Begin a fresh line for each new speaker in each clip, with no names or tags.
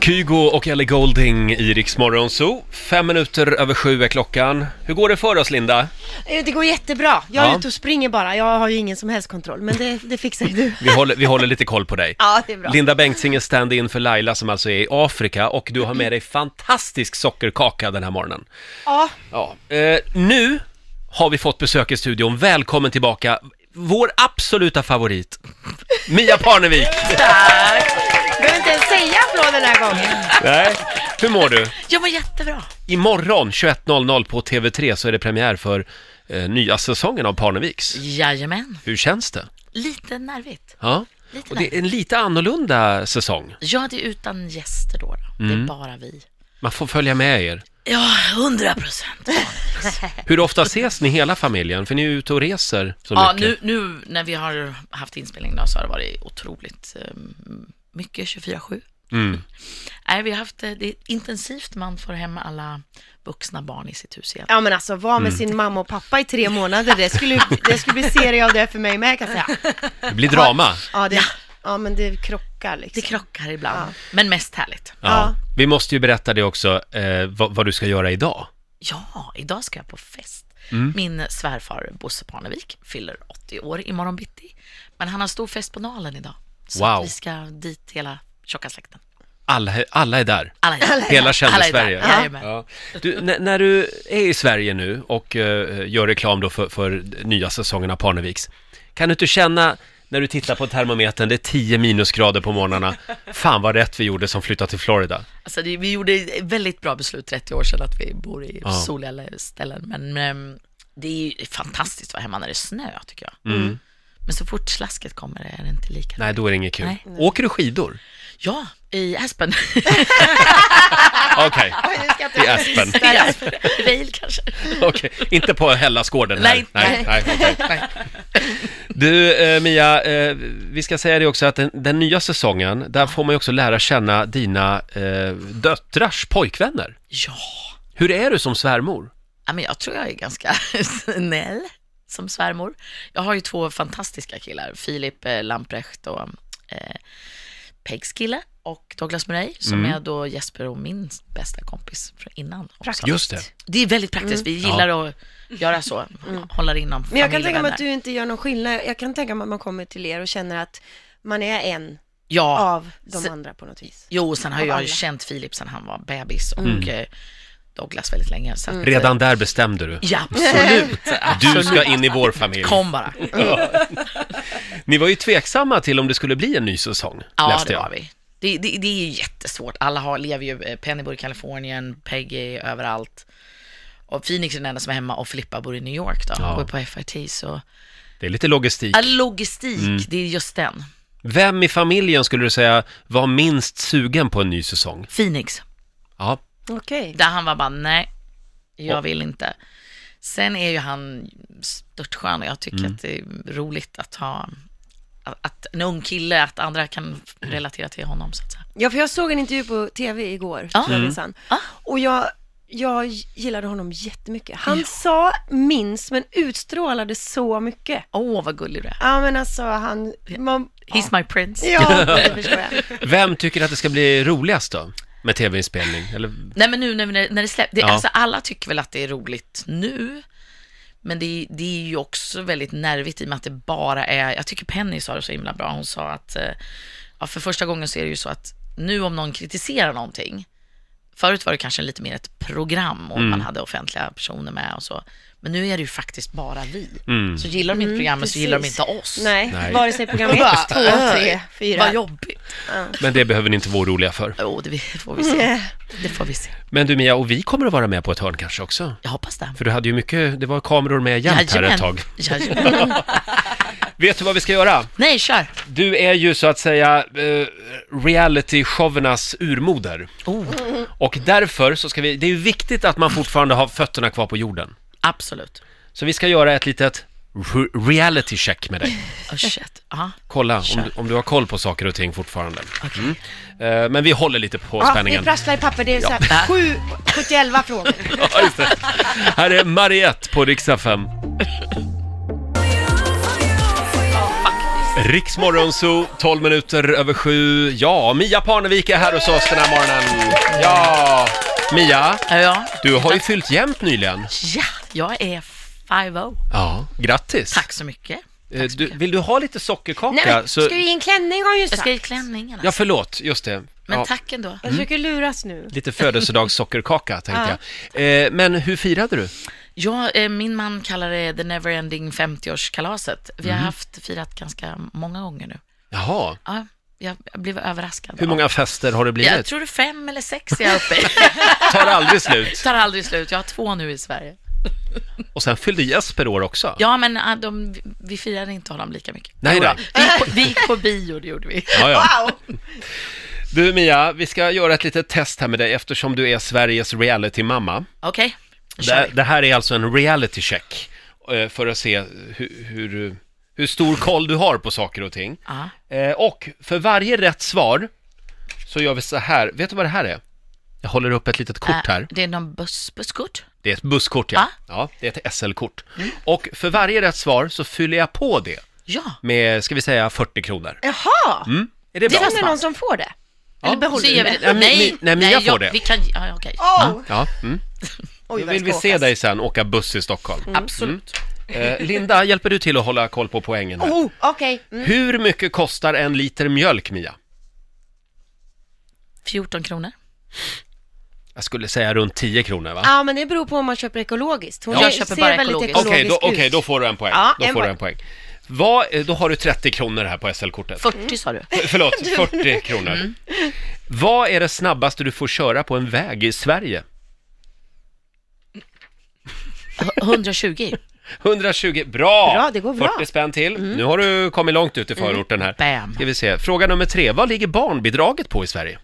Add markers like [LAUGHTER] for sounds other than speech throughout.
Kygo och Ellie Golding i Rix Morgon Zoo. Fem minuter över sju är klockan. Hur går det för oss, Linda?
Eh, Det går jättebra. Jag är
Ja.
ute och springer bara. Jag har ju ingen som helst kontroll, men det, det fixar ju du.
Vi håller, vi håller lite koll på dig.
[LAUGHS] Ja, det är bra.
Linda Bengtzing är stand-in för Laila som alltså är i Afrika och du har med dig fantastisk sockerkaka den här morgonen.
Ja,
Ja. Eh, nu har vi fått besök i studion. Välkommen tillbaka, vår absoluta favorit, Mia
[LAUGHS]
Parnevik!
tack. Behöver inte ens säga applåd den här gången.
Nej. Hur mår du?
Jag mår jättebra.
Imorgon 21.00 på TV3 så är det premiär för eh, nya säsongen av Parneviks.
Jajamän,
Hur känns det?
lite nervigt.
Ja.
Lite
Och det är en lite annorlunda säsong.
Ja, det är utan gäster då. då. Det är bara vi.
Man får följa med er.
Mm. Ja, hundra procent.
Hur ofta ses ni hela familjen? För ni är ute och reser så
Ja,
mycket.
nu, nu när vi har haft inspelning då så har det varit otroligt ehm, mycket 24-7.
Mm.
Nej, vi har haft eh, det är intensivt. Man får hem alla vuxna barn i sitt hus igen.
Ja men alltså, vara med sin mamma och pappa i tre månader, det skulle, det skulle bli serie av det för mig med kan jag säga.
Det blir drama.
Ja, det, ja men det krockar liksom.
Det krockar ibland, men mest härligt.
Ja. Vi måste ju berätta det också, eh, vad, vad du ska göra idag.
Ja, idag ska jag på fest.
Mm.
Min svärfar Bosse Parnevik fyller 80 år imorgon bitti. Men han har stor fest på Nalen idag. Så
Wow.
att vi ska dit hela tjocka släkten.
Alla, alla är där.
Alla är där.
Hela kända
Alla är där.
Sverige.
Jajamän.
Ja. Du, när, när du är i Sverige nu och eh, gör reklam då för, för nya säsongen av Parneviks, kan du inte känna när du tittar på termometern, det är 10 minusgrader på morgnarna, fan vad rätt vi gjorde som flyttade till Florida.
Alltså, det, vi gjorde ett väldigt bra beslut 30 år sedan att vi bor i
Ja.
soliga ställen. Men ehm, det är ju fantastiskt att vara hemma när det är snö, tycker jag. Men så fort slasket kommer är det inte lika
Mm. Nej, då är det inget kul.
Nej.
Åker du skidor?
Ja,
[LAUGHS]
i Aspen.
Okej,
Oj, nu ska jag inte-
i Aspen.
I Aspen. Vail kanske.
[LAUGHS] Okej, inte på Hellasgården här.
Nej,
nej, okej. Du, eh, Mia, eh, vi ska säga det också att den, den nya säsongen, där får man ju också lära känna dina eh, döttrars pojkvänner.
Ja.
Hur är du som svärmor?
Ja, men jag tror jag är ganska [LAUGHS] snäll som svärmor. Jag har ju två fantastiska killar, Filip eh, Lamprecht och eh, Pegs kille och Douglas Murray, som
Mm.
är då Jesper och min bästa kompis från innan. Också.
Just det.
Det är väldigt praktiskt, vi gillar att göra så, hålla det inom
Mm. Men jag kan tänka mig
familjevänner.
att du inte gör någon skillnad. Jag kan tänka mig att man kommer till er och känner att man är en
Ja,
av de
Så-
andra på något vis.
jo, sen har
Av
jag
alla. Mm.
ju känt Filip sen han var bebis och eh, Douglas väldigt länge. Så att,
Redan där bestämde du.
Ja,
[LAUGHS]
absolut.
Du ska in i vår familj.
Kom bara.
Ni var ju tveksamma till om det skulle bli en ny säsong,
Ja,
läste
det
jag.
var vi. Det, det, det är ju jättesvårt. Alla har, lever ju, eh, Penny bor i Kalifornien, Peggy överallt. Och Phoenix är den enda som är hemma och Filippa bor i New York då,
Ja.
ja. går på FIT. Så.
Det är lite logistik.
Ja, Logistik, det är just den.
Vem i familjen skulle du säga var minst sugen på en ny säsong?
Phoenix,
Ja,
Okej.
där han var bara nej, jag vill inte. Sen är ju han störtskön och jag tycker att det är roligt att ha att, att en ung kille, att andra kan relatera till honom så att säga.
Ja, för jag såg en intervju på tv igår,
Ja.
tror jag minsann.
Ja.
Och jag, jag gillade honom jättemycket. Han sa minst, men utstrålade så mycket.
Åh, vad gullig du är.
Ja, men alltså han... Man,
He's my prince.
ja, det förstår jag.
[LAUGHS] Vem tycker att det ska bli roligast då? Med tv-inspelning? Eller...
Nej men nu när, när, när det släpps, det,
Ja.
alltså alla tycker väl att det är roligt nu. Men det, det är ju också väldigt nervigt i och med att det bara är, jag tycker Penny sa det så himla bra, hon sa att eh, ja, för första gången så är det ju så att nu om någon kritiserar någonting, förut var det kanske lite mer ett program och man hade offentliga personer med och så, men nu är det ju faktiskt bara vi. Så gillar de inte programmet så gillar de
Mm, precis.
inte oss.
Nej,
Nej.
vare sig program 1, 2, 3, 4.
"Äh, Vad jobbigt.
Men det behöver ni inte vara oroliga för.
Jo, det får vi
Mm.
se. Det får vi se.
Men du Mia, och vi kommer att vara med på ett hörn kanske också.
Jag hoppas det.
För du hade ju mycket, det var kameror med jämt här ett
Jajamän.
tag.
Jajamän.
Vet du vad vi ska göra?
[LAUGHS] Nej, kör.
Du är ju så att säga eh, reality-showernas urmoder. Och därför så ska vi, det är ju viktigt att man fortfarande har fötterna kvar på jorden.
Absolut.
Så vi ska göra ett litet re- reality check med dig.
Oh, shit. Ja.
Kolla om
Kör.
du, om du har koll på saker och ting fortfarande.
Okej.
Eh, men vi håller lite på
Ja, vi
spänningen.
prasslar i papper. Det är så [LAUGHS] här, 7, 71 frågor.
Ja, just det. Här är Mariette på riksdag 5. Riksmorgonzoo, 12 minuter över sju. Ja, Mia Parnevik är här hos oss den här morgonen. Ja, Mia,
Ja, ja.
du har ju fyllt jämnt nyligen.
ja jag är 5
Ja, grattis.
Tack så mycket.
oh. Eh, Du, vill du ha lite sockerkaka?
Nej, men,
så...
ska du ge en klänning har jag ju
Jag
sagt.
ska i klänningarna.
Ja, förlåt, just det.
Men
ja,
tack ändå.
Jag försöker luras nu.
Lite födelsedagssockerkaka tänkte jag. Eh, men hur firade du?
Ja, eh, min man kallar det the neverending 50-årskalaset. Vi
Mhm.
har haft firat ganska många gånger nu.
Jaha,
Ja, jag, jag blev överraskad.
hur
av-
många fester har det
Jag
blivit?
tror det är fem eller sex jag
[LAUGHS]
är uppe i. [LAUGHS]
Tar aldrig slut.
Tar aldrig slut. Jag har två nu i Sverige.
Och sen fyllde Jesper år också.
Ja, men ah, de, vi firade inte honom lika mycket.
Nej då.
Jodå. Vi gick på, vi gick på bio, det gjorde vi.
Ja, ja.
Wow!
Du Mia, vi ska göra ett litet test här med dig eftersom du är Sveriges reality-mamma.
Okej, då kör
Det,
vi.
det här är alltså en reality check eh, för att se hur, hur, hur stor koll du har på saker och ting.
Ja.
Eh, Och för varje rätt svar så gör vi så här. Vet du vad det här är? Jag håller upp ett litet kort
Eh,
här.
Det är någon buss, busskort.
Det är ett busskort, ja.
Ah.
Ja, det är ett SL-kort. Och för varje rätt svar så fyller jag på det
Ja.
med, ska vi säga, 40 kronor.
Jaha!
Är det
Det
bra?
är någon som får det. Eller behåller
Så
du
ger vi
det?
Nej,
det.
men-
Nej,
nej, Mia får
jag,
det.
Vi kan, ja, okej.
Oh.
Ja, mm.
Oj,
Då
vad
vill vi
jag
se
skåkas.
dig sen åka buss i
[LAUGHS]
Stockholm.
Absolut.
Eh, Linda, hjälper du till att hålla koll på poängen här?
Oh, okej. Mm.
Hur mycket kostar en liter mjölk, Mia?
14 kronor.
Jag skulle säga runt 10 kronor, va?
Ja, men det beror på om man köper ekologiskt. Hon
Jag
är-
köper
ser
bara
väldigt
ekologiskt.
ekologisk
Okej, då,
ut.
okej, då får du en poäng.
Ja,
då
en
får du
poäng.
en poäng. Vad, eh, då har du 30 kronor här på SL-kortet.
40 sa du.
[LAUGHS]
[LAUGHS]
Förlåt, 40 kronor. Vad är det snabbaste du får köra på en väg i Sverige?
120.
120, bra!
Bra, det går bra. Mm.
40 spänn till. Nu har du kommit långt ut i förorten här.
Bam.
Ska vi se. Fråga nummer tre, vad ligger barnbidraget på i Sverige?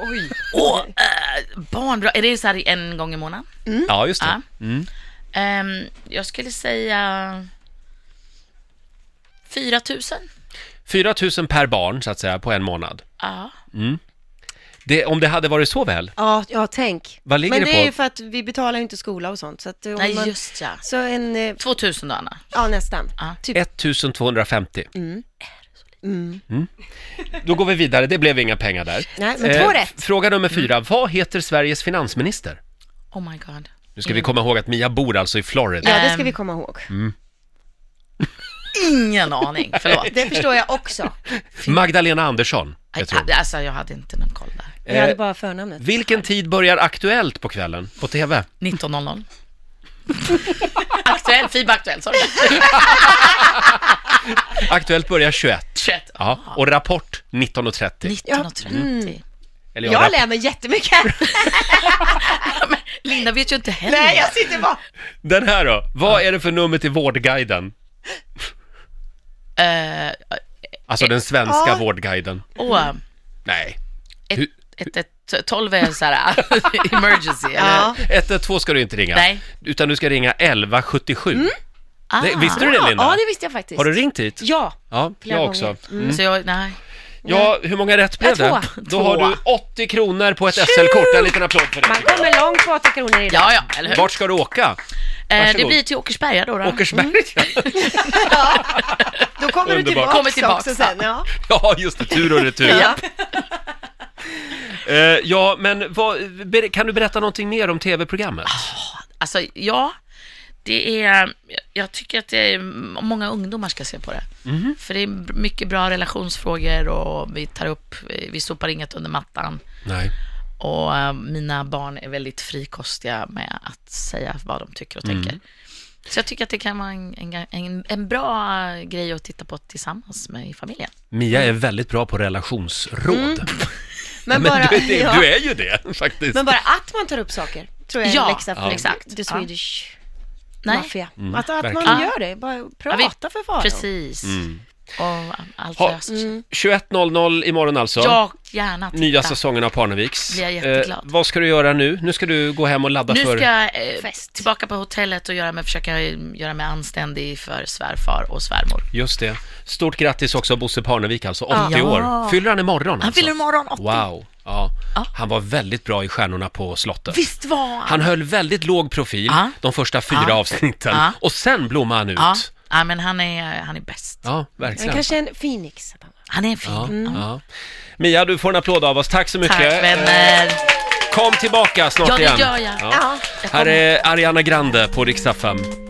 Oj.
Åh, eh, barnbra. Är det så här en gång i månaden?
Mm.
Ja, just det.
Ja. Ehm, jag skulle säga 4 000.
4 000 per barn, så att säga, på en månad.
Ja.
Det, om det hade varit så väl,
Ja, ja, tänk.
Vad ligger
men
det
det är
på?
ju för att vi betalar ju inte skola och sånt. Så, att eh, om
Nej,
man,
just ja.
så en, eh,
2 000 då, Anna.
ja nästan.
Ja.
Typ.
1250. Mm. Då går vi vidare, det blev inga pengar där.
Nej, men två
Eh,
rätt.
f- Fråga nummer fyra, vad heter Sveriges finansminister?
Oh my god.
Nu ska vi komma ihåg att Mia bor alltså i Florida.
Ja, det ska
Ehm.
vi komma ihåg.
Mm.
Ingen aning. Förlåt.
Det förstår jag också.
Magdalena Andersson, [LAUGHS]
Aj,
jag tror.
Alltså, jag hade inte någon koll där.
Eh,
Jag hade bara förnamnet.
Vilken tid börjar Aktuellt på kvällen på TV?
19.00. [LAUGHS] Aktuell, FIB Aktuell, sorry.
Aktuellt börjar 21.
21.
Ja, och Rapport 19.30.
19.30.
Eller ja,
Jag
Rapp-
lär mig
[LAUGHS]
jättemycket.
Linda vet ju inte heller.
Nej, jag sitter bara...
Den här då? Vad är det för nummer till Vårdguiden?
Eh,
Alltså den svenska
Ja.
Vårdguiden.
åh,
Nej.
ett,
Hur-
ett, ett, 12 är så [LAUGHS] här eh, emergency, eller?
Ja.
112 ska du inte ringa.
Nej.
Utan du ska ringa 1177.
Ah.
Det, visste du det Linda?
Mm. Ja, det visste jag faktiskt.
Har du ringt hit?
Ja.
Ja,
flera
jag också.
gånger.
Så jag, nej.
Ja, hur många rätt blev
Ja,
det?
två.
Då har
Två.
du 80 kronor på ett SL-kort. En liten applåd för
Man
det.
kommer långt på 80 kronor idag.
Ja, ja, eller hur?
Vart ska du åka?
Eh, det
varsågod.
blir till Åkersberga då. då.
Mm.
Åkersberga?
Då kommer
Underbart.
du tillbaka,
Kommer tillbaka.
också sen. Ja.
[LAUGHS] Ja, just det. Tur och retur.
Ja.
Eh, ja, men vad, ber- kan du berätta någonting mer om tv-programmet?
Alltså, ja. Det är, jag tycker att det är, många ungdomar ska se på det.
Mhm.
För det är mycket bra relationsfrågor och vi tar upp, vi sopar inget under mattan.
Nej.
Och eh, mina barn är väldigt frikostiga med att säga vad de tycker och
Mm.
tänker. Så jag tycker att det kan vara en, en, en, en bra eh, grej att titta på tillsammans med i familjen.
Mia är väldigt bra på relationsråd.
Men,
[LAUGHS] Men
Mm. bara,
du, är det,
ja.
du är ju det, [LAUGHS] faktiskt.
Men bara att man tar upp saker, tror jag är
Ja,
en läxa för
ja. exakt.
the
Ja.
Swedish
Nej.
Mafia. att att
Mm. verkligen.
man gör det, bara prata för fan.
Precis. Och ehm, allt
Mm. Ha-
löser
Mm.
sig.
21.00 imorgon alltså.
Ja, gärna titta.
Nya säsongen av Parneviks. Eh,
Blir jag jätteglad.
vad ska du göra nu? Nu ska du gå hem och ladda
Nu
för...
ska jag eh,
Fest.
tillbaka på hotellet och göra mig, försöka eh, göra mig anständig för svärfar och svärmor.
Just det. Stort grattis också Bosse Parnevik alltså, 80
Ja.
år. Fyller han imorgon alltså?
Han fyller imorgon 80.
Wow. Ja. Han var väldigt bra i Stjärnorna på slottet.
Visst var han?
Han höll väldigt låg profil
Ja.
de första fyra
Ja.
avsnitten
Ja.
och sen blommade han ut.
Ja. Ja, men han är, han är bäst.
Ja,
Han
verkligen.
kanske är en Phoenix. att han-
Han är en fin.
Ja, ja.
Ja.
Mia, du får en applåd av oss. Tack så mycket.
Mm. Tack vänner.
Kom tillbaka snart
Ja, det
igen.
gör jag.
Ja.
Jag
Här
kommer.
är Ariana Grande på Rix FM.